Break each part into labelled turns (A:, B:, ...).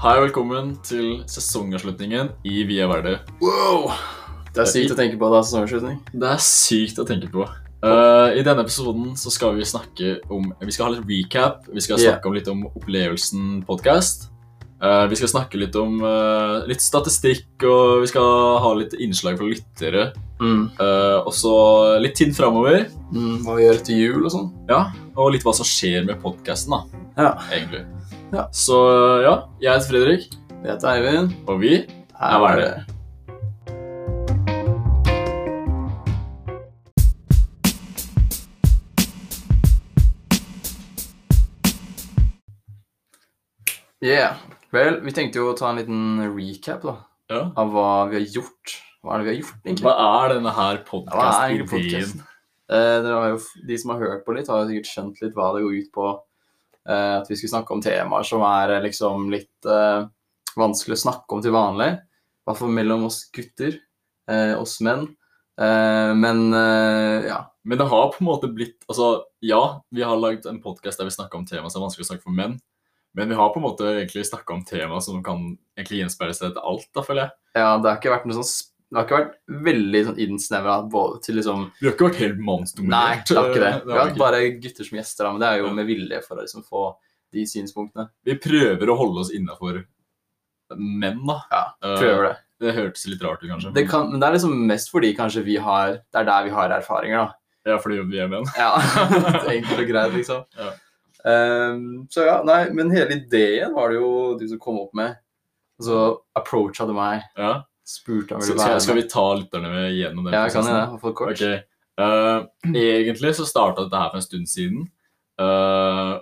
A: Hei og velkommen til sesongavslutningen i Via Verde. Wow!
B: Det er sykt å tenke på at det er sesongavslutning.
A: Det er sykt å tenke på. Eh, I denne episoden så skal vi snakke om Vi skal ha litt recap. Vi skal
B: Ja.
A: snakke om litt om opplevelsen podcast. Eh, vi skal snakke litt om eh, litt statistikk, og vi skal ha litt innslag fra lyttere.
B: Mm.
A: Eh, og så litt tid framover.
B: Mm. Hva vi gjør etter jul og sånn.
A: Ja, og litt hva som skjer med podkasten, da.
B: Ja.
A: Egentlig.
B: Ja.
A: Så eh, ja, jeg heter Fredrik,
B: Jeg heter Eivind.
A: og vi Her var det.
B: Yeah. Vel, vi tenkte jo å ta en liten recap da,
A: ja.
B: av hva vi har gjort. Hva er det vi har gjort, egentlig?
A: Hva er denne her
B: Ja, hva er egentlig
A: podkast-ideen?
B: podcasten? Eh, dere har jo, f- de som har hørt på litt, har jo sikkert skjønt litt hva det går ut på. Eh, at vi skulle snakke om temaer som er eh, liksom litt eh, vanskelig å snakke om til vanlig. I hvert fall mellom oss gutter, eh, oss menn. Eh, men eh, ja.
A: Men det har på en måte blitt Altså, ja, vi har lagd en podkast der vi snakka om tema som er vanskelig å snakke for menn. Men vi har på en måte egentlig snakka om tema som kan egentlig gjenspeile seg til alt, da, føler jeg.
B: ja, det har ikke vært noe sånn sp- det har ikke vært veldig sånn innsnevra både til liksom
A: Vi har ikke vært helt
B: Nei,
A: mannsdominert.
B: det har ikke det.
A: Eh,
B: Vi har
A: vi,
B: hatt
A: ikke.
B: bare gutter som gjester, da, men det er jo
A: Ja.
B: med vilje for å liksom få de synspunktene.
A: vi prøver å holde oss innafor menn, da.
B: Ja,
A: Eh,
B: prøver det.
A: Det hørtes litt rart ut, kanskje.
B: Det, kan, men det er liksom mest fordi kanskje vi har Det er der vi har erfaringer, da.
A: Ja, fordi vi er menn.
B: Ja, enkelt og greit, liksom.
A: Ja.
B: Ehm, så ja, nei, men hele ideen var det jo du som kom opp med. Og så approacha du meg,
A: Ja.
B: spurte om jeg
A: Så,
B: ville være
A: skal,
B: med.
A: skal vi ta lytterne med gjennom den
B: Ja, jeg kan jo det. i hvert fall kort.
A: Ok. Eh, egentlig så starta dette her for en stund siden. Eh,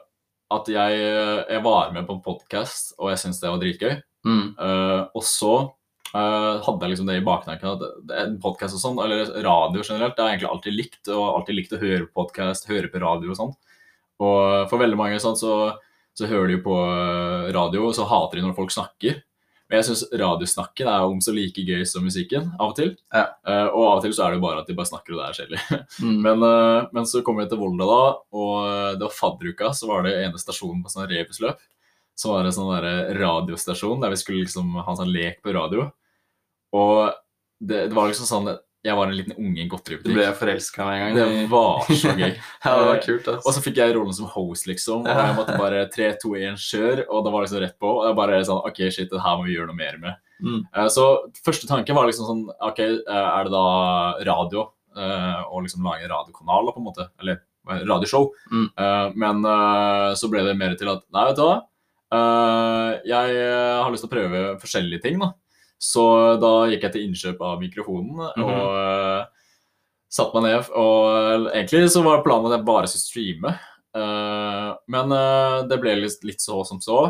A: at jeg, eh, jeg var med på en podkast, og jeg syntes det var dritgøy.
B: Mm,
A: Eh, og så eh, hadde jeg liksom det i baktanken at det- en podkast og sånn, eller radio generelt, det har jeg egentlig alltid likt. Og alltid likt å høre på podkast, høre på radio og sånn. Og for veldig mange sånn, så, så hører de jo på eh, radio, og så hater de når folk snakker. Men jeg syns radiosnakken er om så like gøy som musikken, av og til.
B: Ja.
A: Eh, og av og til så er det jo bare at de bare snakker, og det er kjedelig.
B: mm.
A: Men, eh, men så kom jeg til Volda, da, og eh, det var fadderuka. Så var det ene stasjonen på sånn rebusløp. Så var det sånn der radiostasjon der vi skulle liksom ha en sånn lek på radio. Og det, det var liksom sånn Jeg var en liten unge i en
B: du ble
A: godteributikk.
B: forelska med en gang.
A: Det var så gøy.
B: ja, det var kult,
A: Og
B: ass.
A: så fikk jeg rollen som host, liksom. Og
B: Ja.
A: jeg måtte bare 3, 2, 1, kjør. Og det var liksom rett på. Og jeg bare sånn OK, shit, det her må vi gjøre noe mer med.
B: Mm.
A: Eh, Så første tanke var liksom sånn OK, eh, er det da radio? eh, Og liksom lage en radiokanal, da, på en måte? Eller eh, radioshow?
B: Mm.
A: Eh, Men eh, så ble det mer til at nei, vet du hva, eh, jeg eh, har lyst til å prøve forskjellige ting, da. Så da gikk jeg til innkjøp av mikrofonen
B: Mhm.
A: og eh, satte meg ned. Og eh, egentlig så var planen at jeg bare skulle streame, eh, men eh, det ble litt, litt så som så.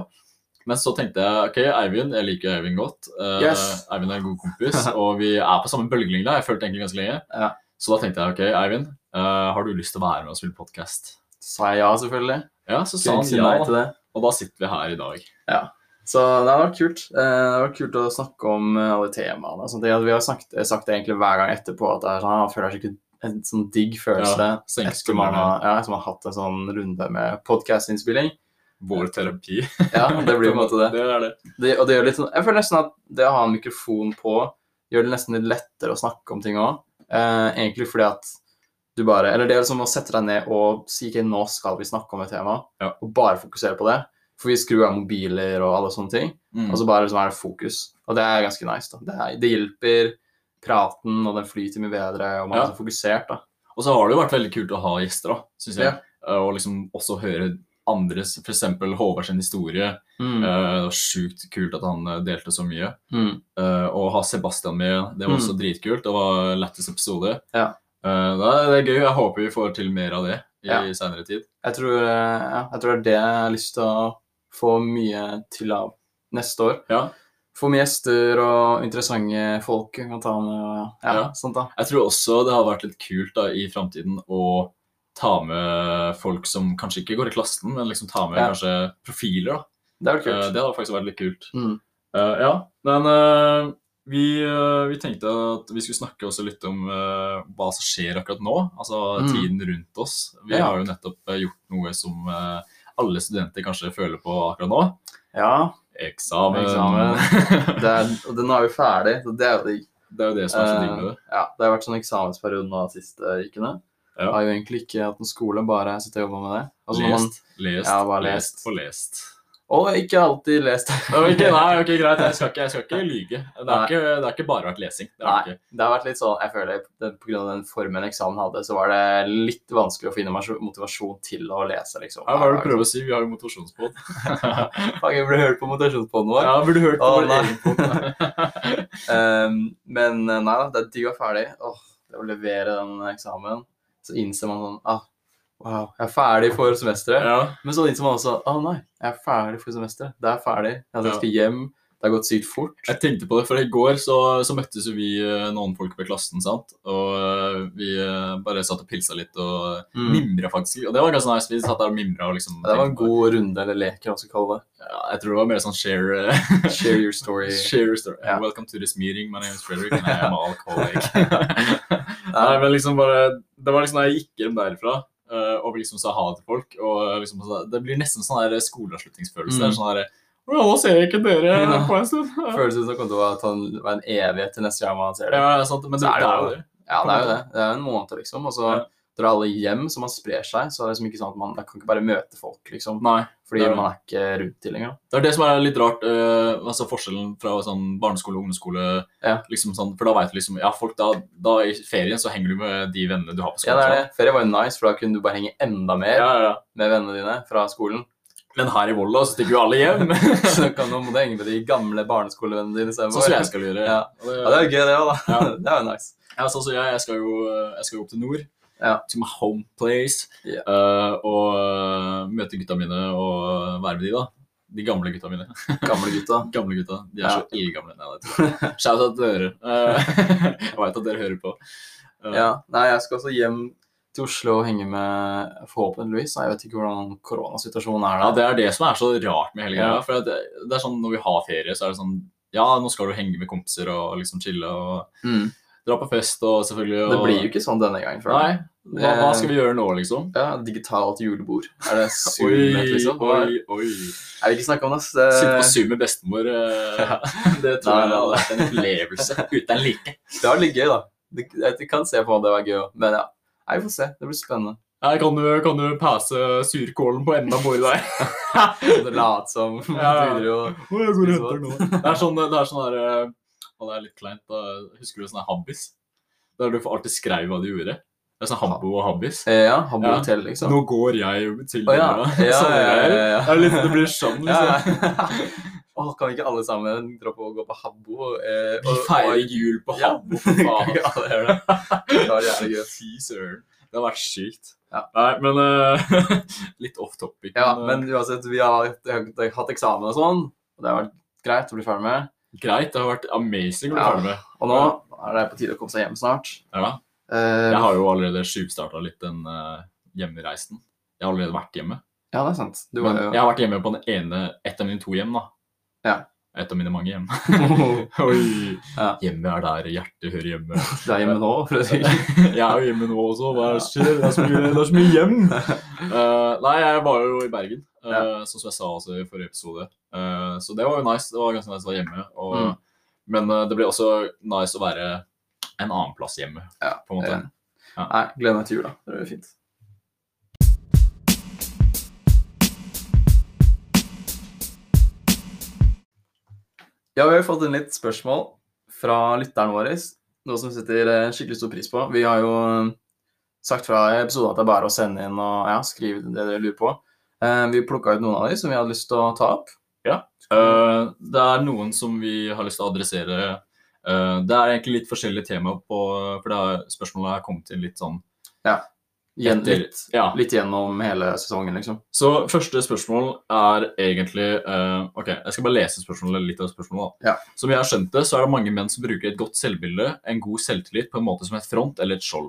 A: Men så tenkte jeg ok, Eivind, jeg liker Eivind godt. Eh,
B: Yes.
A: Eivind er en god kompis, og vi er på samme bølgelengde. Jeg følte egentlig ganske lenge.
B: Ja.
A: Så da tenkte jeg ok, Eivind, eh, har du lyst til å være med og spille podkast?
B: Sa jeg ja, selvfølgelig.
A: Ja, så sa
B: Kunne
A: han
B: ikke si nei
A: ja,
B: til det.
A: og da sitter vi her i dag.
B: Så det har vært kult. Eh, Det har vært kult å snakke om eh, alle temaene. og sånne ting. Altså, vi har snakket, jeg har sagt det egentlig hver gang etterpå at det er sånn, ah, jeg føler jeg skikkelig en sånn digg følelse.
A: senke
B: etter man
A: skuldrene.
B: har, ja, etter man har hatt en sånn runde med podcastinnspilling.
A: Vår terapi.
B: Ja, det blir på en måte det.
A: Det er det.
B: det, og det gjør litt sånn, jeg føler nesten at det å ha en mikrofon på gjør det nesten litt lettere å snakke om ting òg. Eh, egentlig fordi at du bare Eller det er liksom å sette deg ned og si ok, nå skal vi snakke om et tema,
A: Ja.
B: og bare fokusere på det. For vi skrur av mobiler og alle sånne ting.
A: Mm.
B: Og så bare liksom er det fokus. Og det er ganske nice. da. Det, er, det hjelper praten, og den flyter mye bedre, og man
A: Ja.
B: er så fokusert. da.
A: Og så har det jo vært veldig kult å ha gjester, da, syns jeg.
B: Ja.
A: Eh, Og liksom også høre andres, f.eks. Håvard sin historie. Eh,
B: Mm.
A: Det var sjukt kult at han eh, delte så mye.
B: Mm.
A: Eh, Og å ha Sebastian med, det var også dritkult. Det var lættis episode.
B: Ja.
A: Eh, Det er det er gøy. Jeg håper vi får til mer av det i
B: Ja.
A: seinere tid.
B: Jeg tror, eh, ja, jeg tror det er det jeg har lyst til å få mye til av neste år.
A: Ja.
B: Få med gjester og interessante folk. jeg Kan ta med, og- ja,
A: Ja.
B: Sånt da.
A: Jeg tror også det hadde vært litt kult da, i framtiden å ta med folk som kanskje ikke går i klassen, men liksom ta med
B: Ja.
A: kanskje profiler. da.
B: Det er jo
A: Eh,
B: kult.
A: Det hadde faktisk vært litt kult.
B: Mm.
A: Eh, ja, men eh, vi, eh, vi tenkte at vi skulle snakke også litt om eh, hva som skjer akkurat nå. Altså
B: Mm.
A: tiden rundt oss. Vi
B: Ja.
A: har jo nettopp eh, gjort noe som eh, alle studenter kanskje føler på akkurat nå.
B: Ja,
A: Eksamen.
B: Eksamen. Det er, og den er jo ferdig, så det er jo digg.
A: Det er jo det som er så digg med det.
B: Ja, det har vært sånn eksamensperiode nå de siste ukene.
A: Ja.
B: Jeg har jo egentlig ikke hatt en skole, bare sittet og jobba med det. Altså, når man,
A: Lest, lest,
B: Ja, bare
A: lest
B: lest.
A: og lest.
B: og ikke alltid lest.
A: Ok, nei, ok, greit. Jeg skal ikke, jeg skal ikke lyge. Det
B: Nei.
A: har ikke, det har ikke bare vært lesing. Det har
B: Nei,
A: ikke.
B: det har vært litt sånn, jeg føler det, på grunn av den formen eksamen hadde, så var det litt vanskelig å finne mas- motivasjon til å lese, liksom.
A: Ja, hva er det du prøver å si? Vi har jo motivasjonspod.
B: Fuck, jeg burde hørt på motivasjonspodden vår.
A: Ja, burde hørt på
B: Å,
A: vår
B: nei.
A: egen pod.
B: Ehm, men eh, nei da, det er digg å være ferdig. Åh, det å levere den eksamen, så innser man sånn, ah, wow, jeg er ferdig for semesteret.
A: Ja.
B: Men så innser man også å nei, jeg er ferdig for semesteret. Det er ferdig. Jeg
A: Ja.
B: skal hjem. Det har gått sykt fort.
A: Jeg tenkte på det, for i går så, så møttes jo vi eh, noen folk ved klassen, sant? Og eh, vi eh, bare satt og pilsa litt og
B: Mm.
A: mimra faktisk. Og det var ganske nice. Vi satt der og mimra og liksom
B: Det var en
A: tenkte på-
B: god runde, eller lek, hva man skal kalle det.
A: ja, Jeg tror det var mer sånn share, eh,
B: Share your story.
A: share story.
B: Ja.
A: Welcome to this meeting. My name is Frederick and I am an alcoholic. Nei, men liksom bare Det var liksom da jeg gikk hjem derifra eh, og liksom sa ha det til folk. Og liksom så- Det blir nesten sånn der skoleavslutningsfølelse. Det
B: Mm.
A: er sånn der «Å, Nå ser jeg ikke dere
B: Ja.
A: på en stund.
B: Føles ut som det kommer til å ta en, være en evighet til neste gang man ser det.
A: Ja, sant, men det,
B: Så er
A: det
B: det
A: er jo
B: jo-
A: det.
B: Ja, det er jo det. Det er en måned, liksom. Og så
A: Ja.
B: drar alle hjem, så man sprer seg. Så det er liksom ikke sånn at man man kan ikke bare møte folk, liksom.
A: Nei. det
B: Fordi
A: er det.
B: man er ikke rundt til lenger.
A: Det er det som er litt rart, eh, altså forskjellen fra sånn barneskole og ungdomsskole.
B: Ja.
A: liksom sånn, For da vet du liksom Ja, folk da, da i ferien så henger du med de vennene du har på
B: Ja,
A: skolen.
B: det er
A: sant?
B: det. Ferie var jo nice, for da kunne du bare henge enda mer
A: Ja, ja, ja.
B: med vennene dine fra skolen.
A: Men her i Volda så stikker jo alle hjem.
B: Så kan, nå må du henge med de gamle barneskolevennene dine.
A: sånn som jeg skal gjøre.
B: Ja.
A: Og
B: Ja, det er jo gøy, det òg, da.
A: Ja.
B: Det er jo nice.
A: Ja, sånn som jeg, jeg skal jo jeg skal jo opp til nord.
B: Ja.
A: To my home place.
B: Ja.
A: eh, og eh, møte gutta mine og være med de, da. De gamle gutta mine.
B: Gamle gutta.
A: Gamle gutta. De er
B: Ja.
A: så eldgamle. Nei, det tror jeg. Shout out til dere. Eh, jeg veit at dere hører på. Eh,
B: Ja. Nei, jeg skal også hjem til Oslo og henge med forhåpentligvis. da. Jeg vet ikke hvordan koronasituasjonen er
A: ja,
B: da.
A: det er det som er så rart med hele
B: Ja.
A: greia. For at det, det er sånn når vi har ferie, så er det sånn Ja, nå skal du henge med kompiser og liksom chille og
B: Mm.
A: dra på fest og selvfølgelig og
B: Det blir jo ikke sånn denne gangen. føler jeg.
A: Nei. Hva, hva skal vi gjøre nå, liksom?
B: Ja, digitalt julebord. Er
A: Oi,
B: det Zoom-et, liksom? Hva er-
A: oi, oi.
B: Jeg vil ikke snakke om det. ass. Det-
A: Sitte på Zoom med bestemor, eh, det tror jeg
B: Nei, nei,
A: hadde
B: nei.
A: vært en opplevelse uten like.
B: Det har vært litt gøy, da. Det- Jeg jeg kan se på om det var gøy òg. Men ja, Nei, vi får se. Det blir spennende.
A: Her kan du, kan du passe surkålen på enden av bordet der.
B: Det Late som.
A: Ja, ja.
B: Du driver og-
A: Å, jeg går og henter nå. Det er sånn, det er sånn der, eh, og det er litt kleint, da. husker du sånn der Habbis? Der du alltid skrev hva du gjorde. Det er sånn Habbo og Habbis.
B: Eh, Ja, Habbo
A: Ja.
B: Hotel, liksom.
A: Nå går jeg til
B: Å ja.
A: døra.
B: Ja, ja,
A: Sånne
B: ja,
A: greier.
B: ja, ja.
A: Det, er litt, det blir sånn,
B: Ja.
A: liksom.
B: Åh, kan vi ikke alle sammen dra på og gå på Habbo? Eh,
A: Vi feirer jul på
B: Ja.
A: Habbo, for faen. altså.
B: Ja, det gjør det. Det var jævlig gøy.
A: Fy søren. Det har vært sykt.
B: Ja.
A: Nei, men eh, Litt off topic.
B: Ja, men uansett, vi har, har hatt eksamen og sånn, og det har vært greit å bli ferdig med.
A: eh, greit. Det har vært amazing å bli
B: Ja.
A: ferdig med.
B: Og nå er det på tide å komme seg hjem snart.
A: Ja.
B: Eh,
A: Jeg har jo allerede tjuvstarta litt den eh, hjemreisen. Jeg har allerede vært hjemme.
B: ja, det er sant. Du
A: Men
B: var jo
A: jeg har vært hjemme på den ene, ett av mine to hjem, da.
B: Ja.
A: Et av mine mange hjem.
B: Du
A: Oi.
B: Ja.
A: Hjemmet er der hjertet hører hjemme.
B: er hjemme nå, Fredrik.
A: Jeg er jo hjemme nå også. Hva er det som skjer? Det er så mye, det er så mye hjem. Eh, nei, jeg var jo i Bergen, eh,
B: Ja.
A: sånn som jeg sa også i forrige episode. Eh, så det var jo nice. Det var ganske nice å være hjemme. Og,
B: Mm.
A: Men eh, det ble også nice å være en annen plass hjemme,
B: Ja,
A: på en måte.
B: eh, Nei, gleder meg til jula. Det blir fint. Ja, vi har fått inn litt spørsmål fra lytteren vår, noe som vi setter eh, skikkelig stor pris på. Vi har jo eh, sagt fra i episoden at det er bare å sende inn og ja, skrive det dere lurer på. Eh, Vi plukka ut noen av de som vi hadde lyst til å ta opp.
A: Ja. Eh, det er noen som vi har lyst til å adressere. Eh, det er egentlig litt forskjellige temaer, på, for det er, spørsmålet har kommet inn litt sånn
B: Gjen-
A: etter-
B: litt,
A: Ja.
B: litt gjennom hele sesongen, liksom.
A: Så første spørsmål er egentlig eh, Ok, jeg skal bare lese spørsmålet litt av spørsmålet. da.
B: Ja.
A: Som jeg har skjønt det, så er det mange menn som bruker et godt selvbilde, en god selvtillit, på en måte som et front eller et skjold.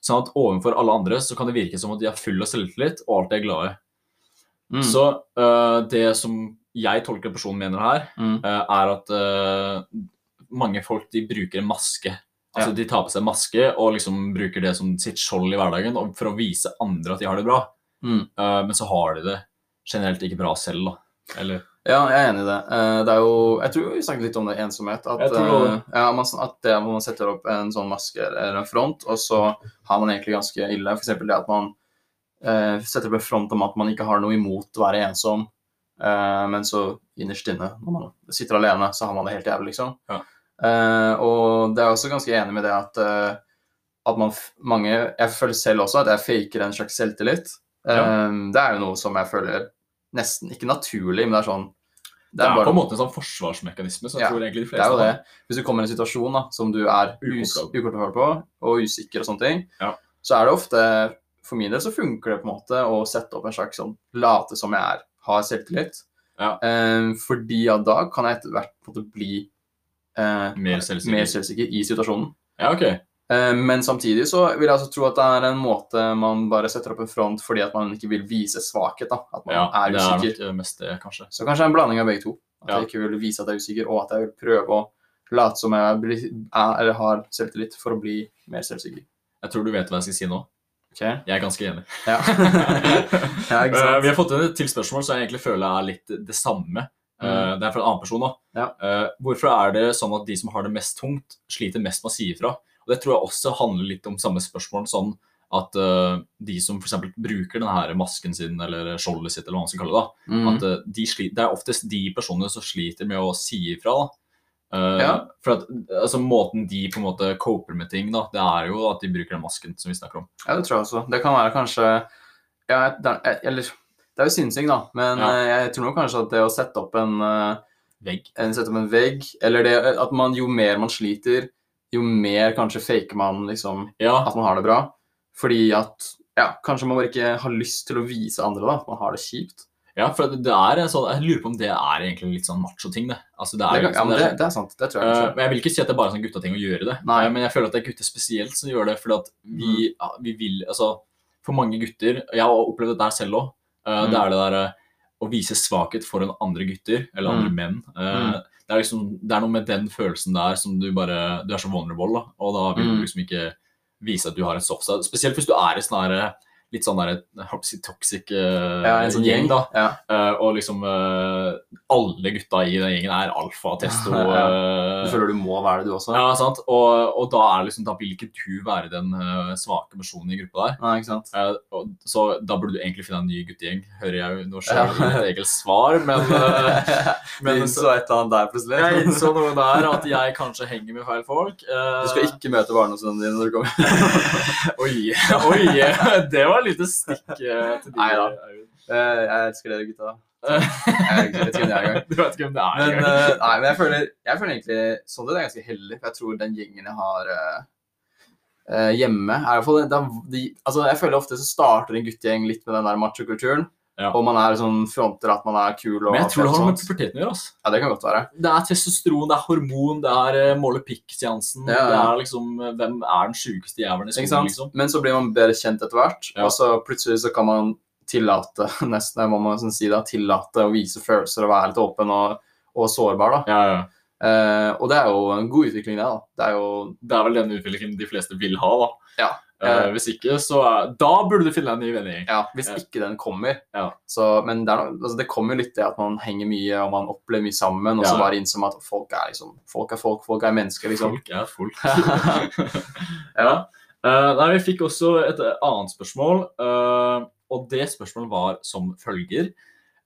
A: Sånn at overfor alle andre så kan det virke som at de er full av selvtillit og alltid er glade.
B: Mm.
A: Så eh, det som jeg tolker personen mener her,
B: Mm.
A: eh, er at eh, mange folk de bruker en maske. Altså
B: Ja.
A: De tar på seg maske og liksom bruker det som sitt skjold i hverdagen og for å vise andre at de har det bra.
B: Mm.
A: Eh, men så har de det generelt ikke bra selv, da. Eller
B: Ja, jeg er enig i det. Eh, Det er jo Jeg tror vi snakket litt om det, ensomhet. At,
A: Jeg tror det var
B: eh, ja, man, at det er hvor man setter opp en sånn maske eller en front, og så har man egentlig ganske ille. F.eks. det at man eh, setter opp en front om at man ikke har noe imot å være ensom, eh, men så innerst inne, når man sitter alene, så har man det helt jævlig, liksom.
A: Ja.
B: Eh, og det er jeg også ganske enig med det at, eh, at man f mange Jeg føler selv også at jeg faker en slags selvtillit.
A: Ja.
B: Eh, det er jo noe som jeg føler nesten ikke naturlig, men det er sånn
A: Det er
B: bare-
A: på en måte en sånn forsvarsmekanisme som jeg
B: Ja,
A: tror egentlig de
B: det er
A: fleste
B: jo det. Hvis du kommer i en situasjon da, som du er us-
A: Ukomfortabel.
B: ukomfortabel på, og usikker og sånne ting,
A: Ja.
B: så er det ofte For min del så funker det på en måte å sette opp en slags sånn late som jeg er, har selvtillit.
A: Ja.
B: Eh, fordi at da kan jeg etter hvert på en måte bli eh,
A: har. Mer selvsikker.
B: mer selvsikker i situasjonen.
A: Ja, ok.
B: Eh, Men samtidig så vil jeg altså tro at det er en måte man bare setter opp en front fordi at man ikke vil vise svakhet. da, At man
A: Ja,
B: er
A: det er
B: usikker.
A: nok eh, mest det, kanskje.
B: Så kanskje en blanding av begge to. At
A: Ja.
B: jeg ikke vil vise at jeg er usikker, og at jeg vil prøve å late som jeg blir, er, eller har selvtillit for å bli mer selvsikker.
A: Jeg tror du vet hva jeg skal si nå.
B: Ok? Ja.
A: Jeg er ganske enig.
B: ja, ikke
A: Eh,
B: sant?
A: vi har fått inn et til spørsmål som jeg egentlig føler er litt det samme. Eh,
B: Mm.
A: Det er fra en annen person. da. Eh, hvorfor er det sånn at de som har det mest tungt, sliter mest med å si ifra? Og Det tror jeg også handler litt om samme spørsmål. sånn at eh, de som for eksempel bruker denne her masken sin eller skjoldet sitt, eller hva man skal kalle det, da,
B: Mm.
A: at eh, de sli- det er oftest de personene som sliter med å si ifra. da. Eh,
B: Ja.
A: For at altså, Måten de på en måte coper med ting da, det er jo at de bruker den masken som vi snakker om.
B: Ja, det tror jeg også. Det kan være kanskje ja, det er, Eller det er jo synsing, da, men
A: Ja.
B: eh, jeg tror nok kanskje at det å sette opp en, eh,
A: Vegg.
B: en, sette opp en vegg, eller det at man jo mer man sliter, jo mer kanskje faker man liksom
A: Ja,
B: at man har det bra. Fordi at ja, kanskje man bare ikke har lyst til å vise andre da, at man har det kjipt.
A: Ja, for det er en sånn, jeg lurer på om det er egentlig en litt sånn macho-ting, det. Altså, det
B: Det,
A: er,
B: kan, ja,
A: liksom-
B: men
A: det er
B: det, det er sant. Det tror jeg
A: sånn, øh, men
B: kanskje.
A: jeg vil ikke si at det er bare en sånn gutta-ting å gjøre det,
B: Nei. Mm.
A: Eh, men jeg føler at det er gutter spesielt som gjør det, fordi at vi, ja, vi vil, altså, for mange gutter, jeg har opplevd det der selv også, eh, det
B: Mm.
A: er det der eh, å vise svakhet foran andre gutter, eller andre
B: Mm.
A: menn. Eh, Det, er liksom, det er noe med den følelsen der som du bare, du er så vulnerable, da, og da vil
B: Mm.
A: du liksom ikke vise at du har en soft side. Spesielt hvis du er i sånn her, litt sånn der, jeg håper å si toxic eh,
B: ja, en sånn gjeng, da. Ja.
A: Eh, og liksom eh, alle gutta i den gjengen er alfa, testo
B: Ja, Du
A: eh,
B: føler du må være det, du også?
A: Ja, sant. Og, og da, er det liksom, da vil ikke du være den eh, svake personen i gruppa der.
B: Nei, ikke sant?
A: Eh, og, så da burde du egentlig finne en ny guttegjeng, hører jeg jo nå
B: Ja.
A: sjøl i mitt eget svar, men, eh,
B: men
A: men
B: så et eller annet der plutselig.
A: jeg innså noe der at jeg kanskje henger med feil folk. eh,
B: Du skal ikke møte barndomsvennene dine når du kommer.
A: Oi, oi, det var et lite stikk eh, til de
B: Neida. Eh, Jeg elsker dere, gutta.
A: Eh,
B: Jeg vet ikke hvem det er engang.
A: Du vet ikke hvem det er
B: Men,
A: engang.
B: eh, nei, men jeg, føler, jeg føler egentlig sånn sett er jeg ganske heldig, for jeg tror den gjengen jeg har eh, eh, hjemme er i hvert fall, det, er- de, altså Jeg føler ofte så starter en guttegjeng litt med den der machokulturen,
A: Ja.
B: og man er sånn fronter at man er kul og
A: Men jeg tror det
B: fet og
A: har noe med
B: sånt.
A: puberteten å gjøre. ass.
B: Ja, det kan godt være.
A: det er testosteron, det er hormon, det er eh, måle pikk-seansen.
B: Ja, ja.
A: Det er liksom eh, Hvem er den sjukeste jævelen i
B: Ikke
A: skolen,
B: sant?
A: liksom?
B: Men så blir man bedre kjent etter hvert,
A: Ja.
B: og så plutselig så kan man tillate nesten, jeg må man nesten si da, tillate å vise følelser og være litt åpen og, og sårbar. da.
A: Ja, ja.
B: Eh, og det er jo en god utvikling, det. da. Det er jo
A: Det er vel den utviklingen de fleste vil ha, da.
B: Ja.
A: Eh, hvis ikke, så er, Da burde du finne deg en ny vennegjeng.
B: Ja, hvis
A: Ja.
B: ikke den kommer.
A: Ja.
B: Så, men det, er noe, altså det kommer jo litt det at man henger mye og man opplever mye sammen, og
A: Ja.
B: så bare innser man at folk er, liksom, folk er folk, folk er mennesker, liksom.
A: Folk er folk. ja. Eh, nei, vi fikk også et eh, annet spørsmål, eh, og det spørsmålet var som følger.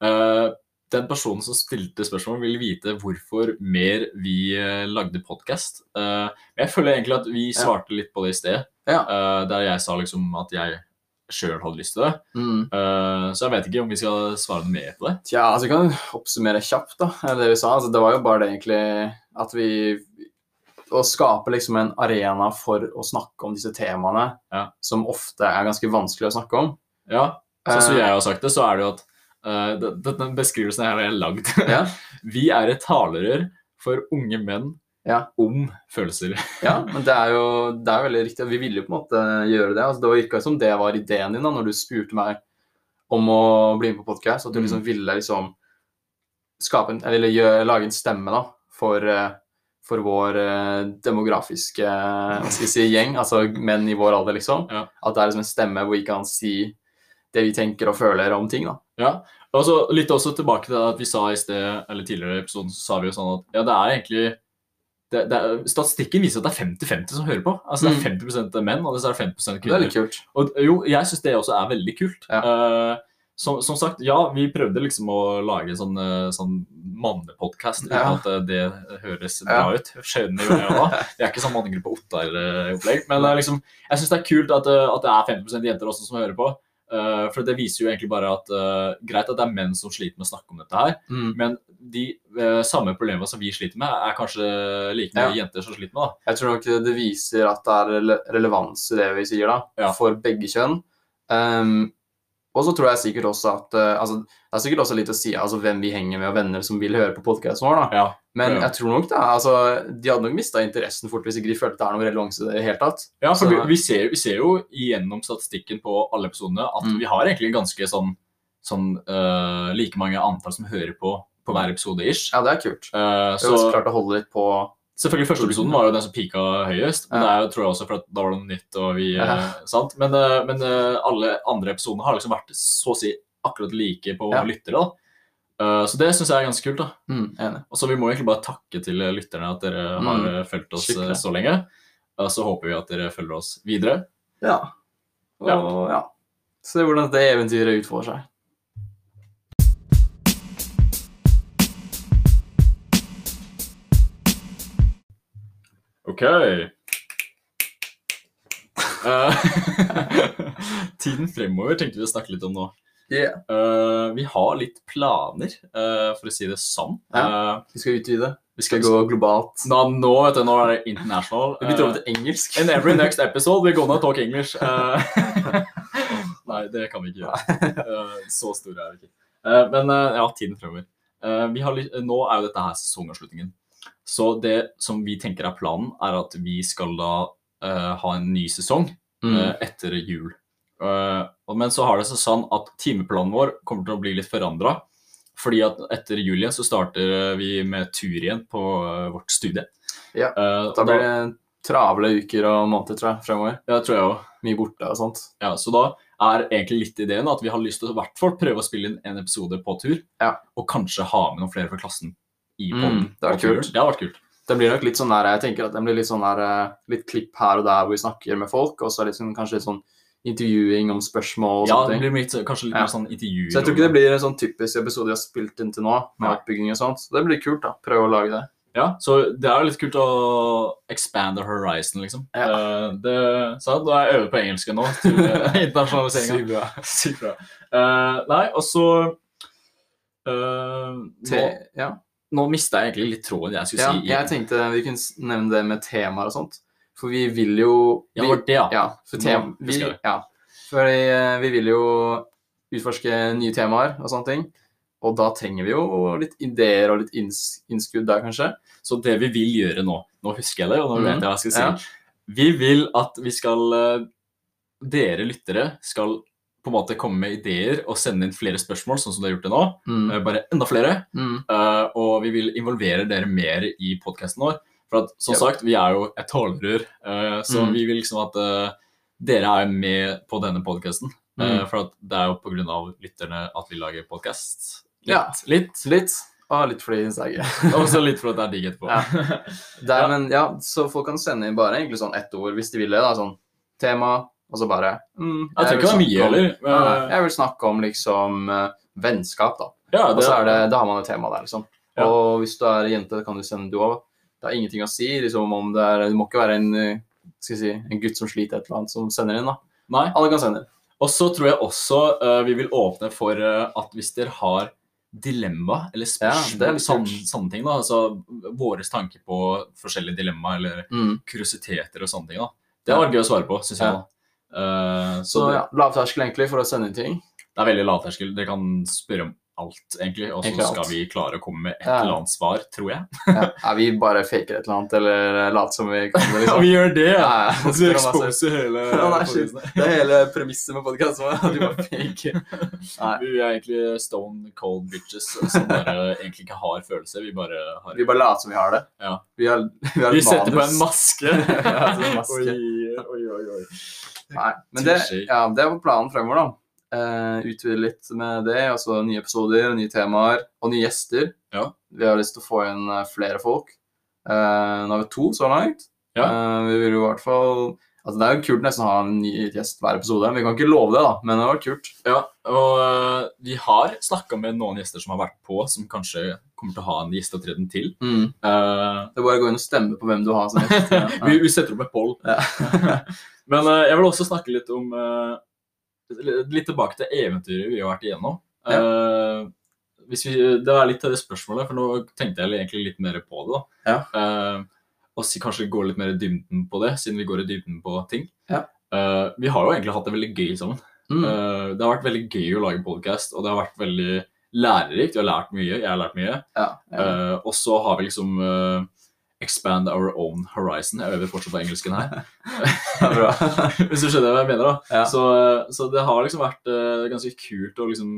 A: Eh, den personen som stilte spørsmålet, ville vite hvorfor mer vi eh, lagde podkast. jeg føler egentlig at vi
B: Ja.
A: svarte litt på det i sted, eh, der jeg sa liksom at jeg sjøl hadde lyst til det.
B: Mm.
A: Eh, så jeg vet ikke om vi skal svare noe mer på det.
B: Tja, altså jeg kan oppsummere kjapt da, det vi sa. Altså, det var jo bare det egentlig at vi Å skape liksom en arena for å snakke om disse temaene
A: Ja.
B: som ofte er ganske vanskelig å snakke om.
A: Ja, Sånn som
B: Eh,
A: jeg har sagt det, så er det jo at eh, den, den- den beskrivelsen her har jeg lagd.
B: Ja.
A: Vi er et talerør for unge menn
B: Ja.
A: om følelser.
B: Ja, men det er jo det er veldig riktig. og Vi ville jo på en måte gjøre det. Altså, det var ikke som det var ideen din da når du spurte meg om å bli med på podkast, at du
A: Mm.
B: liksom ville liksom skape en, eller gjøre, lage en stemme da, for, eh, for vår eh, demografiske hva skal jeg si, gjeng, altså menn i vår alder, liksom.
A: Ja.
B: At det er liksom en stemme hvor vi kan si det vi tenker og føler om ting. da.
A: Og så litt også tilbake til det at vi sa i sted, eller tidligere i episoden, så sa vi jo sånn at ja, det er egentlig det, det er, Statistikken viser at det er 50-50 som hører på. Altså Det
B: Mm.
A: er 50 menn, og så er det 50
B: Det er
A: kvinner.
B: litt kult.
A: Og eh, jo, jeg syns det også er veldig kult. Eh, som, som sagt, ja, vi prøvde liksom å lage en sånn, eh, sånn mannepodkast uten
B: Ja.
A: at eh, det høres
B: Ja.
A: bra ut. Skjønner jo jeg da. Vi er ikke sånn mannegruppe Ottar-opplegg. Men det er liksom, jeg syns det er kult at, eh, at det er 50 jenter også som hører på. Eh, for det viser jo egentlig bare at eh, greit at det er menn som sliter med å snakke om dette her, men de eh, samme problemene som vi sliter med, er kanskje like mye jenter som sliter med. da.
B: Jeg tror nok det viser at det er rele- relevans i det vi sier, da,
A: Ja.
B: for begge kjønn. Ehm, og så tror jeg sikkert også at eh, altså, Det er sikkert også litt å si altså, hvem vi henger med, og venner som vil høre på podkasten vår. da.
A: Ja.
B: Men
A: Ja.
B: jeg tror nok det er, altså, de hadde nok mista interessen fort hvis ikke de følte det er noen relevans i det i det hele tatt.
A: Ja, for
B: Så-
A: vi, vi, ser, vi ser jo gjennom statistikken på alle episodene at
B: Mm.
A: vi har egentlig ganske sånn, sånn eh, like mange antall som hører på på hver episode ish.
B: Ja, det er kult.
A: Eh,
B: Så,
A: så
B: klart å holde litt på
A: selvfølgelig første episoden var jo den som pika høyest, men
B: Ja.
A: det er jo tror jeg også for at da var det noe nytt og vi eh,
B: Ja.
A: sant? Men, eh, men eh, alle andre episodene har liksom vært så å si akkurat like på
B: Ja.
A: lyttere, da. Eh, så det syns jeg er ganske kult, da.
B: mm, Enig.
A: Og så vi må egentlig bare takke til eh, lytterne at dere har
B: Mm.
A: eh, fulgt oss eh,
B: Skikkelig.
A: så lenge. Eh, så håper vi at dere følger oss videre.
B: Ja. Og, ja.
A: Ja.
B: Se hvordan dette eventyret utfolder seg.
A: Ok. Eh, tiden fremover tenkte vi å snakke litt om nå.
B: Yeah.
A: Eh, vi har litt planer, eh, for å si det sånn. Eh,
B: Vi skal utvide.
A: vi
B: Vi skal gå globalt.
A: Nå, nå, vet du, nå er det international.
B: Vi bytter over
A: Eh,
B: til engelsk.
A: in every next episode we're gonna talk English. Eh, nei, det kan vi ikke gjøre. Eh, så store er vi ikke. Eh, men eh, ja, tiden fremover. Eh, vi har litt, nå er jo dette her sesongavslutningen. Så det som vi tenker er planen, er at vi skal da eh, ha en ny sesong eh,
B: Mm.
A: etter jul. Eh, og- men så har det seg sånn at timeplanen vår kommer til å bli litt forandra. Fordi at etter jul igjen så starter eh, vi med tur igjen på eh, vårt studie.
B: Ja,
A: Eh, og
B: Da blir
A: da,
B: det travle uker og måneder tror jeg, fremover.
A: ja, tror jeg også.
B: Mye borte og sånt.
A: Ja, så da er egentlig litt ideen at vi har lyst til å i hvert fall prøve å spille inn en episode på tur,
B: Ja.
A: og kanskje ha med noen flere fra klassen i
B: Mm,
A: podden.
B: det er
A: på turen.
B: kult.
A: Det har vært kult.
B: Den blir nok litt sånn der, jeg tenker at den blir litt sånn der, eh, litt klipp her og der hvor vi snakker med folk, og så er det litt sånn, kanskje litt sånn intervjuing om spørsmål og
A: Ja, det
B: sånne ting.
A: blir litt, kanskje litt
B: Ja.
A: mer sånn intervju.
B: Så jeg tror ikke det blir en sånn typisk episode vi har spilt inn til nå, med
A: Nei.
B: oppbygging og sånt. Så det blir kult da, prøve å lage det.
A: sånn. Ja, så det er jo litt kult å expand the horizon, liksom. Eh, det, så da er jeg øver på engelsk nå, til internasjonaliseringa.
B: bra.
A: Sykt bra. Eh, nei, og så eh, nå,
B: Te- ja.
A: nå mista jeg egentlig litt tråden jeg skulle
B: ja,
A: si. i-
B: jeg tenkte vi kunne s- nevne det med temaer og sånt. For vi vil jo...
A: ja,
B: vi-
A: det var det, ja.
B: Ja, for
A: Nå
B: tem vi,
A: husker jeg det.
B: ja. Fordi eh, vi vil jo utforske nye temaer og sånne ting. Og da trenger vi jo litt ideer og litt inns innskudd der, kanskje.
A: Så det vi vil gjøre nå Nå husker jeg det, og nå vet jeg hva jeg skal si.
B: Mhm. Ja.
A: Vi vil at vi skal eh, Dere lyttere skal på en måte komme med ideer og sende inn flere spørsmål, sånn som dere har gjort det nå. Eh,
B: Mm.
A: Bare enda flere.
B: Mm.
A: Eh, og vi vil involvere dere mer i podkasten vår. For at, som
B: Ja.
A: sagt, vi er jo et talerør, eh, så
B: Mm.
A: vi vil liksom at eh, dere er med på denne podkasten.
B: Mm.
A: for at det er jo på grunn av lytterne at vi lager podkast. Litt.
B: Ja.
A: litt.
B: Litt. Og litt fordi hun sier
A: Og så litt for at det er digg etterpå.
B: Der,
A: Ja.
B: Men ja, så folk kan sende inn bare egentlig sånn ett ord hvis de vil det. da, Sånn tema, og så bare mm,
A: Jeg tror ikke det
B: vil
A: er
B: snakke
A: mye,
B: om-
A: eller?
B: Nei,
A: Eh,
B: nei, Jeg vil snakke om liksom eh, vennskap, da.
A: Ja,
B: Og så er det, da har man et tema der, liksom.
A: Ja.
B: Og hvis du er jente, kan du sende du òg. Det har ingenting å si liksom, om det er Det må ikke være en, eh, skal jeg si, en gutt som sliter et eller annet, som sender inn, da.
A: Nei.
B: Alle kan sende inn.
A: Og så tror jeg også eh, vi vil åpne for eh, at hvis dere har dilemma eller
B: Ja, det er
A: spørsmål,
B: litt
A: sånne,
B: kult.
A: sånne ting, da, altså våre tanker på forskjellige dilemma eller
B: Mm.
A: kuriositeter og sånne ting, da. Det var gøy å svare på, syns jeg.
B: Ja.
A: da. Eh,
B: Så,
A: så det,
B: ja, lavterskel egentlig for å sende inn ting.
A: det er veldig lavterskel. Dere kan spørre om alt, egentlig, og så
B: Egentlig alt.
A: skal vi klare å komme med et
B: Ja.
A: eller annet svar, tror jeg.
B: Ja. Er vi bare faker et eller annet, eller eh, later som vi kan det,
A: Ja,
B: liksom?
A: vi gjør det! Ja.
B: Ja,
A: Vi
B: ja. Spør om hva som-
A: exposer hele
B: Ja, nei, shit. Det er hele premisset med podkasten vår. at vi bare faker. Nei.
A: Vi er egentlig stone cold bitches som bare egentlig ikke har følelser. Vi bare har
B: Vi bare later som vi har det.
A: Ja.
B: Vi har, vi har
A: Vi
B: et
A: setter på en
B: manus.
A: maske.
B: Ja, altså, maske.
A: Oi, oi, oi, oi.
B: Nei, men det,
A: Touché.
B: ja, det var planen fremover, da. Eh, utvide litt med det. Og så nye episoder, nye temaer og nye gjester.
A: Ja.
B: Vi har lyst til å få inn eh, flere folk. Eh, nå har vi to så langt.
A: Ja.
B: Eh, vi vil jo i hvert fall Altså, det er jo kult nesten å ha en ny gjest hver episode. Vi kan ikke love det, da, men det har vært kult.
A: Ja, og eh, vi har snakka med noen gjester som har vært på, som kanskje kommer til å ha en gjesteopptreden til. Eh,
B: Det er bare å gå inn og stemme på hvem du har som gjest.
A: vi, vi setter opp et poll.
B: Ja.
A: Men eh, jeg vil også snakke litt om eh, li- Litt tilbake til eventyret vi har vært igjennom.
B: Ja.
A: Eh, hvis vi, det er litt til det spørsmålet, for nå tenkte jeg egentlig litt mer på det. da. Eh, og si, kanskje gå litt mer i dybden på det, siden vi går i dybden på ting.
B: Ja.
A: Eh, vi har jo egentlig hatt det veldig gøy sammen.
B: Mm.
A: Eh, det har vært veldig gøy å lage podkast, og det har vært veldig lærerikt. Vi har lært mye, jeg har lært mye.
B: Ja, ja.
A: Eh, og så har vi liksom eh, Expand our own horizon. Jeg øver fortsatt på engelsken her.
B: Bra.
A: Hvis du skjønner hva jeg mener, da.
B: Ja.
A: Så, så det har liksom vært eh, ganske kult å liksom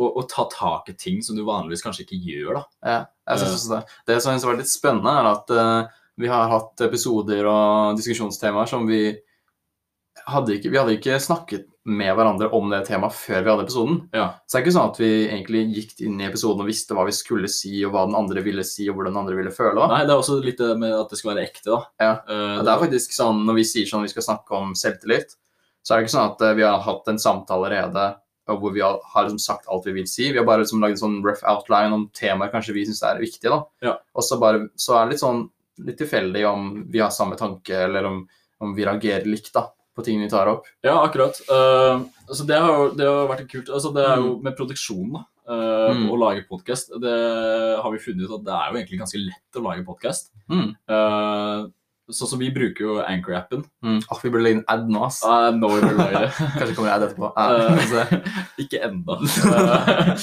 A: å, å ta tak i ting som du vanligvis kanskje ikke gjør, da.
B: Ja, jeg synes også det. Det som jeg synes har vært litt spennende, er at eh, vi har hatt episoder og diskusjonstemaer som vi hadde ikke, Vi hadde ikke snakket med hverandre om det temaet før vi hadde episoden.
A: Ja.
B: Så det er ikke sånn at vi egentlig gikk inn i episoden og visste hva vi skulle si, og hva den andre ville si, og hvordan den andre ville føle. Da.
A: Nei, det er også litt det med at det skal være ekte, da.
B: Ja.
A: Eh,
B: Ja, Det er faktisk sånn, Når vi sier sånn vi skal snakke om selvtillit, så er det ikke sånn at eh, vi har hatt en samtale allerede og hvor vi har, har liksom sagt alt vi vil si. Vi har bare liksom lagd en sånn rough outline om temaer kanskje vi syns er viktige. da.
A: Ja.
B: Og så, bare, så er det litt sånn litt tilfeldig om vi har samme tanke, eller om, om vi reagerer likt da, på ting vi tar opp.
A: Ja, akkurat. Eh, altså det, har, jo- det har vært kult. Altså det er jo med produksjon da, eh,
B: Mm.
A: å lage podkast. Det har vi funnet ut at det er jo egentlig ganske lett å lage podkast.
B: Mm.
A: sånn som vi bruker jo Anchor-appen.
B: Mm. Åh, vi burde legge en ad nå, ass.
A: Eh, når vi lager det.
B: Kanskje kommer det ad etterpå.
A: Eh,
B: Ja, så-
A: ikke enda. Eh,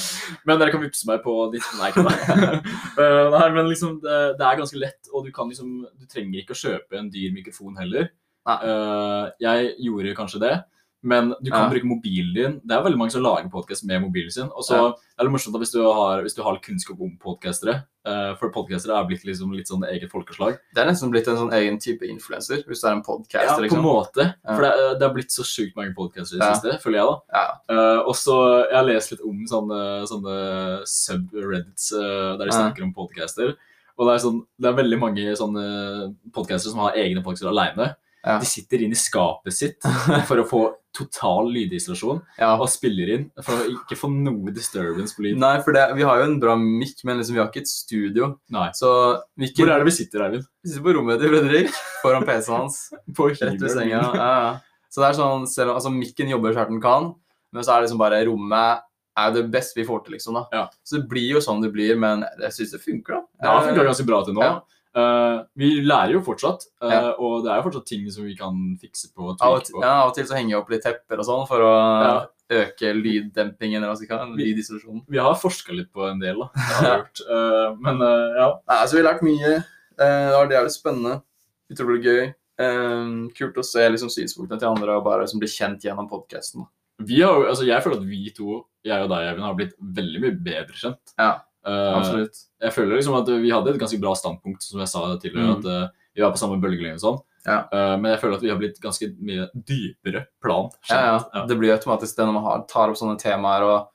A: men dere kan vippse meg på ditt Nei, ikke da. Eh, nei, men liksom, det, det er ganske lett, og du, kan liksom, du trenger ikke å kjøpe en dyr mikrofon heller.
B: Nei.
A: Eh, jeg gjorde kanskje det, men du kan
B: Ja.
A: bruke mobilen din. Det er veldig mange som lager podkast med mobilen sin. Og så
B: Ja.
A: er det morsomt da, hvis du har, hvis du har litt kunnskap om podkastere. eh, for podkastere er blitt liksom litt sånn eget folkeslag.
B: det er nesten blitt en sånn egen type influenser, hvis det er en podcast.
A: Ja, på en
B: liksom.
A: måte.
B: Ja.
A: For det, er- det har blitt så sjukt mange podkaster i det
B: Ja.
A: siste, føler jeg, da.
B: Ja.
A: Eh, og så Jeg har lest litt om sånne, sånne subreddits eh, der de
B: Ja.
A: snakker om podcaster. Og det er, sånn, det er veldig mange sånne podcaster som har egne podcaster alene.
B: Ja.
A: De sitter inn i skapet sitt for å få total lydisolasjon,
B: Ja.
A: og spiller inn for å ikke få noe disturbance på lyd.
B: Nei, for det, vi har jo en bra mic, men liksom, vi har ikke et studio.
A: Nei.
B: Så vi ikke-
A: Hvor er det vi sitter, Eivind?
B: vi sitter på rommet til Fredrik foran PC-en hans.
A: På
B: Rett ved
A: hybelen.
B: senga. Ja, ja. Så det er sånn, selv om altså, mikken jobber så hardt den kan, men så er det liksom bare rommet er jo det beste vi får til, liksom. da.
A: Ja.
B: Så det blir jo sånn det blir, men jeg syns det funker, da.
A: Det har funka ganske bra til nå.
B: Eh, Ja.
A: Eh, vi lærer jo fortsatt, eh,
B: Ja.
A: og det er jo fortsatt ting som vi kan fikse på. og
B: Eh, av og,
A: tweake
B: til,
A: på.
B: ja, av og til så henger jeg opp litt tepper og sånn for å
A: Ja.
B: øke lyddempingen, eller hva skal jeg kalle det, lydisolasjonen.
A: Vi har forska litt på en del, da. Det har vi gjort. Eh, men eh, ja.
B: Nei, altså vi har lært mye. Eh, det var jævlig spennende. Utrolig gøy. Eh, kult å se liksom, synspunktene til andre og bare liksom, bli kjent gjennom podkasten.
A: vi har, jo- altså jeg føler at vi to, jeg og deg, Eivind, har blitt veldig mye bedre kjent.
B: Ja,
A: Eh,
B: Absolutt.
A: jeg føler liksom at vi hadde et ganske bra standpunkt, som jeg sa tidligere,
B: Mm.
A: at eh, vi var på samme bølgelengde og sånn.
B: Ja.
A: Eh, men jeg føler at vi har blitt ganske mye dypere plan.
B: Ja, ja.
A: kjent. Ja.
B: Det blir jo automatisk det når man har, tar opp sånne temaer og,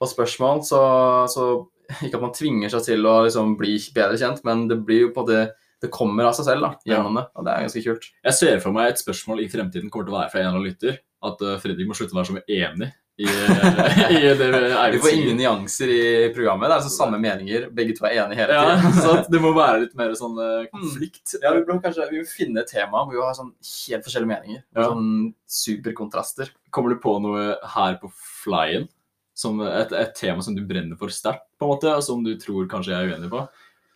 B: og spørsmål, så, så ikke at man tvinger seg til å liksom, bli bedre kjent, men det blir jo på det det kommer av seg selv da, gjennom det, og det er ganske kult.
A: Jeg ser for meg et spørsmål i fremtiden kommer til å være fra en eller annen lytter. At eh, Fredrik må slutte å være så enig i, i det
B: Vi
A: Eivind
B: får
A: sier.
B: ingen nyanser i programmet. Det er altså samme meninger. Begge to er enige hele
A: Ja,
B: tiden.
A: så at det må være litt mer sånn eh,
B: Mm.
A: konflikt.
B: Ja, vi burde kanskje vi burde finne et tema hvor vi har sånn helt forskjellige meninger.
A: Ja.
B: Sånn superkontraster.
A: Kommer du på noe her på flyen? Som et, et tema som du brenner for sterkt, på en måte, og som du tror kanskje jeg er uenig på?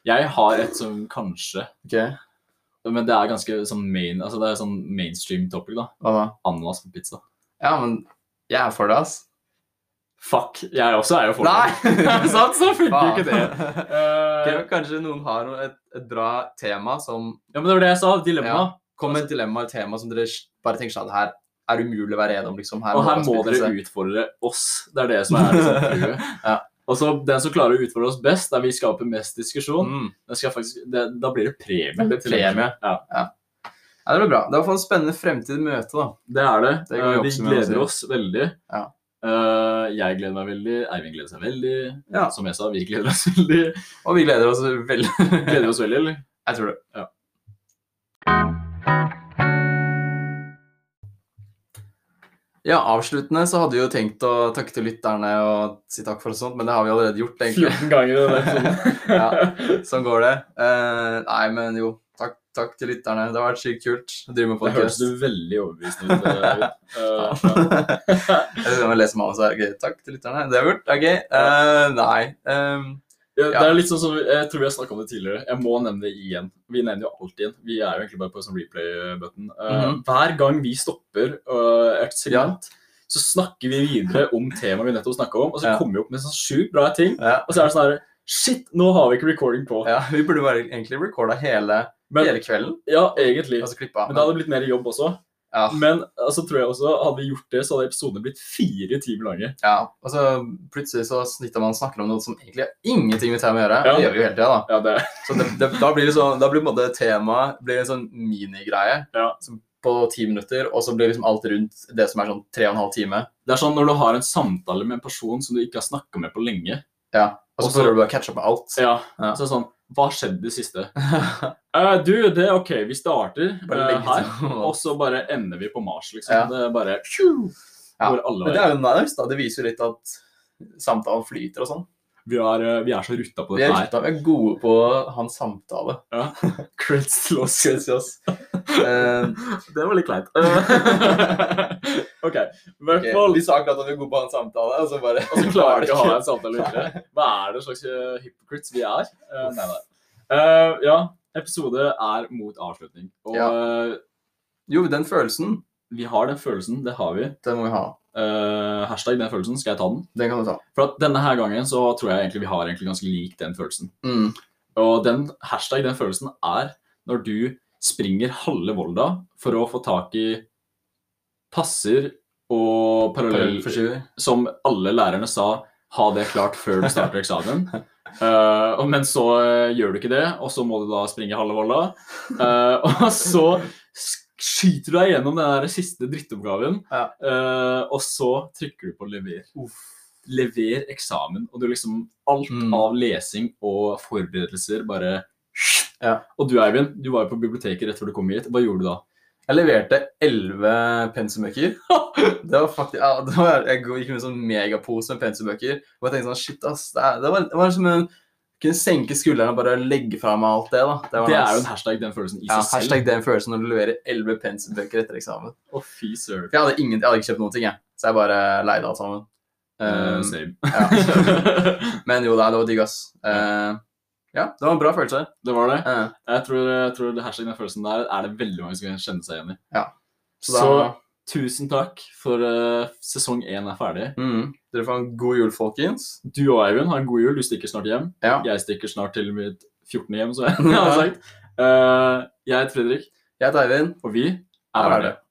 A: Jeg har et som kanskje
B: Ok,
A: Men det er ganske sånn main altså det er sånn mainstream topic, da.
B: hva da?
A: Ananas på pizza.
B: Ja, men jeg er for det, ass.
A: Fuck! Jeg også er jo for
B: Nei!
A: Sant, så funker jo
B: Faen.
A: ikke det. Eh,
B: Ok, men kanskje noen har noe- et, et bra tema som
A: ja, men det var det jeg sa. Dilemma.
B: Ja. Kom med et dilemma eller tema som dere s- bare tenker sånn Det her er umulig å være enig om, liksom.
A: Og her
B: dere
A: må
B: spille
A: dere
B: seg.
A: utfordre oss. Det er det som er liksom, clouet.
B: Ja.
A: Og så den som klarer å utfordre oss best, der vi skaper mest diskusjon,
B: Mm.
A: den skal faktisk, det, da blir det premie.
B: Det blir premie.
A: Ja.
B: Ja, det blir bra. Det var for en spennende fremtid i møte, da.
A: Det er det.
B: Det kan vi
A: Eh, vi
B: oppsummere og si.
A: gleder oss veldig.
B: Ja.
A: Eh, jeg gleder meg veldig, Eivind gleder seg veldig.
B: Ja.
A: Som jeg sa, vi gleder oss veldig.
B: Og vi gleder oss veldig.
A: Gleder vi oss veldig, eller?
B: Jeg tror det.
A: Ja.
B: Ja, avsluttende så hadde vi jo tenkt å takke til lytterne og si takk for oss og sånt, men det har vi allerede gjort, egentlig.
A: 14 ganger i denne
B: Ja. Sånn går det. Eh, nei, men jo. Takk, takk til lytterne. Det har vært sykt kult å drive med
A: Det hørtes
B: podkast.
A: du veldig overbevisende ut. Eivind. Eh, ja.
B: Jeg skal bare lese manuset her. Ok, Takk til lytterne. Det er gjort. Ok. Eh, nei. ehm,
A: Ja,
B: Ja.
A: Det er litt sånn som, Jeg tror vi har snakka om det tidligere. Jeg må nevne det igjen. Vi nevner jo alltid igjen. Vi er jo egentlig bare på en sånn replay-button. Eh,
B: Mhm.
A: Hver gang vi stopper eh, et segment, så snakker vi videre om temaet vi nettopp snakka om, og så
B: Ja.
A: kommer vi opp med sånn sjukt bra ting.
B: ja.
A: Og så er det sånn her Shit, nå har vi ikke recording på.
B: ja, vi burde bare egentlig recorda hele,
A: Men,
B: hele kvelden.
A: ja, egentlig.
B: Og så klippa.
A: Men det hadde blitt mer jobb også.
B: Altså, Ja.
A: Men så altså, tror jeg også, hadde vi gjort det, så hadde episodene blitt fire timer lange.
B: ja. Og så plutselig så sitter man og snakker om noe som egentlig har ingenting med temaet å gjøre.
A: Ja.
B: Det gjør vi jo hele tida, da.
A: Ja, det,
B: Så det, det, da blir det sånn, da blir på en måte temaet blir en sånn minigreie
A: Ja.
B: som- på ti minutter, og så blir liksom alt rundt det som er sånn tre og en halv time.
A: det er sånn når du har en samtale med en person som du ikke har snakka med på lenge.
B: Og så
A: Og så-
B: prøver du bare å catche opp med alt.
A: Ja,
B: Ja.
A: Så sånn, hva har skjedd det siste? Eh, du, det er OK. Vi starter
B: Bare
A: eh,
B: legge
A: her,
B: til-
A: og så bare ender vi på Mars, liksom.
B: Ja.
A: Det er bare pju,
B: Ja,
A: går alle
B: Men det
A: veier.
B: er jo nice, da. Det viser jo litt at samtalen flyter og sånn.
A: Vi, er, eh, vi er så rutta på
B: Vi er,
A: dette her.
B: gutta, vi er gode på hans samtale.
A: Creds til oss.
B: Skal vi si oss. Eh,
A: Det var litt kleint. Eh, OK. I hvert
B: ok,
A: fall
B: Vi sa akkurat at vi er gode på hans samtale, og så bare
A: Og så klarer vi ikke å ha en samtale videre. Hva er det slags eh, hypocrites vi er? Eh, nei, nei. Eh, ja, episode er mot avslutning. Og eh,
B: Jo, den følelsen,
A: vi har den følelsen. Det har vi.
B: den må vi ha.
A: Eh, hashtag den følelsen. Skal jeg ta den?
B: Den kan du ta.
A: For at denne her gangen så tror jeg egentlig vi har egentlig ganske lik den følelsen.
B: Mm.
A: Og den hashtag den følelsen er når du springer halve Volda for å få tak i passer og parallell
B: Parallellforskyver.
A: som alle lærerne sa, ha det klart før du starter eksamen. Eh, og- men så eh, gjør du ikke det, og så må du da springe halve volla. Eh, og så sk- skyter du deg gjennom den der siste drittoppgaven,
B: Ja.
A: eh, og så trykker du på lever. Lever eksamen. Og du liksom Alt
B: Mm.
A: av lesing og forberedelser bare
B: Ja.
A: Og du Eivind, du var jo på biblioteket rett før du kom hit. Hva gjorde du da?
B: Jeg leverte elleve pensumbøker. Det var faktisk, ja, det var, jeg gikk med en sånn megapose med pensumbøker. Og jeg tenkte sånn, shit ass, det, er, det, var, det var som en Kunne senke skuldrene og bare legge fra meg alt det. da. var
A: Det er
B: nice.
A: jo en hashtag, den følelsen i
B: altså. ja,
A: seg selv.
B: hashtag den følelsen når du leverer elleve pensumbøker etter eksamen.
A: Å, fy søren.
B: For jeg hadde, ingen, jeg hadde ikke kjøpt noen ting, jeg. Så jeg bare leide alt sammen.
A: Eh,
B: Um,
A: same.
B: ja. Men jo da, det var digg, ass. Eh, ja, det var en bra følelse.
A: Det var det.
B: Eh,
A: Jeg tror, jeg tror det hashtag den følelsen der er det veldig mange som kan kjenne seg igjen i.
B: så da,
A: Tusen takk for eh, sesong én er ferdig.
B: mm, dere får en god jul, folkens.
A: Du og Eivind har en god jul. Du stikker snart hjem.
B: Ja.
A: Jeg stikker snart til mitt 14. hjem, som jeg har sagt. Eh, jeg heter Fredrik,
B: Jeg heter Eivind.
A: og vi
B: Her
A: er
B: er
A: det.
B: det.